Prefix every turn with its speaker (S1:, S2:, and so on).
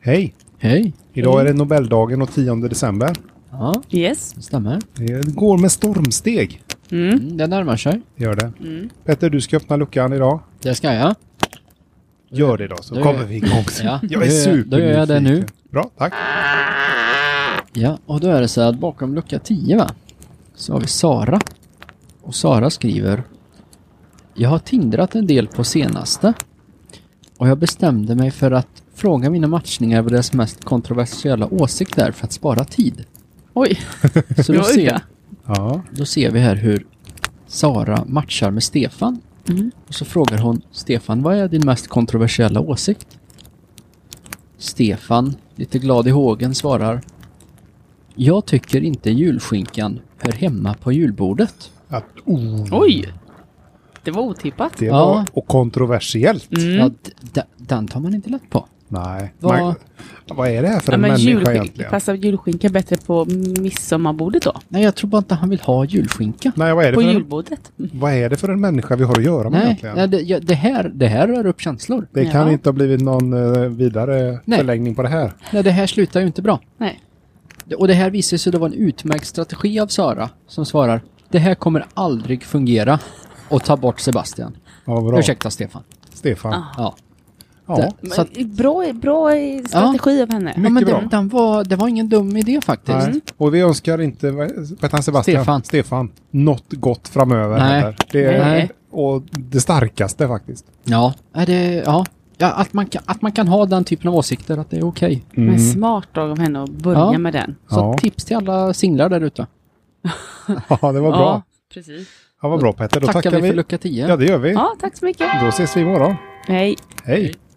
S1: Hej!
S2: Hej!
S1: Idag
S3: Hej.
S1: är det Nobeldagen och 10 december.
S2: Ja,
S3: Yes.
S2: det stämmer.
S1: Det går med stormsteg.
S3: Mm.
S2: Mm, det närmar sig.
S1: Det Gör det. Petter, du ska öppna luckan idag.
S2: Det ska jag.
S1: Gör det då, så
S2: Då
S1: kommer
S2: gör-
S1: vi igång.
S2: Ja,
S1: Jag är
S2: då gör-
S1: supernyfiken.
S2: då gör jag det nu.
S1: Bra, tack.
S2: Ja, och då är det så att bakom lucka 10 va? Så har vi Sara. Och Sara skriver Jag har tindrat en del på senaste. Och jag bestämde mig för att fråga mina matchningar vad deras mest kontroversiella åsikter för att spara tid.
S3: Oj.
S2: Så då
S3: Oj,
S2: ser,
S3: ja.
S1: Ja.
S2: då ser vi här hur Sara matchar med Stefan.
S1: Mm.
S2: Och så frågar hon Stefan, vad är din mest kontroversiella åsikt? Stefan, lite glad i hågen, svarar Jag tycker inte julskinkan hör hemma på julbordet.
S1: Att, oh,
S3: Oj. Det var otippat.
S1: Det
S2: Ja.
S1: var och kontroversiellt.
S3: Mm.
S2: Ja, d- d- den tar man inte lätt på.
S1: Nej.
S2: Vad-
S1: Man, vad är det här för
S3: Ja,
S1: en
S3: men
S1: människa
S3: julskinka,
S1: egentligen?
S3: passar julskinka bättre på midsommarbordet då?
S2: Nej, jag tror bara inte han vill ha julskinka.
S1: Nej, vad är, det
S3: På
S1: för en,
S3: julbordet? Mm.
S1: vad är det för en människa vi har att göra med
S2: Nej,
S1: egentligen?
S2: nej det, ja, det, här, det här rör upp känslor.
S1: det kan
S3: Ja.
S1: inte ha blivit någon eh, vidare
S2: Nej.
S1: förlängning på det här.
S2: Nej, det här slutar ju inte bra.
S3: Nej.
S2: Det- Och det här visar sig då vara en utmärkt strategi av Sara som svarar Det här kommer aldrig fungera och ta bort Sebastian.
S1: Ja, bra.
S2: Ursäkta Stefan.
S1: Stefan.
S3: Ah.
S2: Ja.
S1: Ja.
S2: Så att-
S3: Men Bra, bra strategi av henne.
S1: Mycket
S2: ja, men
S1: bra.
S2: Den, den var, det var ingen dum idé faktiskt.
S1: Nej. Och vi önskar inte, vad heter han Sebastian?
S2: Stefan.
S1: Stefan. Något gott framöver.
S2: Nej.
S1: heller. Det är,
S2: Nej.
S1: Och det starkaste faktiskt.
S2: Ja, är det, ja. ja att, man kan, att man kan ha den typen av åsikter, att det är okej.
S3: Men smart av henne att börja
S2: Ja.
S3: med den.
S2: Så
S1: Mm. Ja.
S2: tips till alla singlar där ute.
S1: Ja, det var bra.
S3: precis.
S1: Ja, vad bra Petter. Då
S2: Tackar,
S1: tackar,
S2: vi för lucka 10.
S1: Ja, det gör vi.
S3: Ja, tack så mycket.
S1: Då ses vi imorgon.
S3: Hej.
S1: Hej.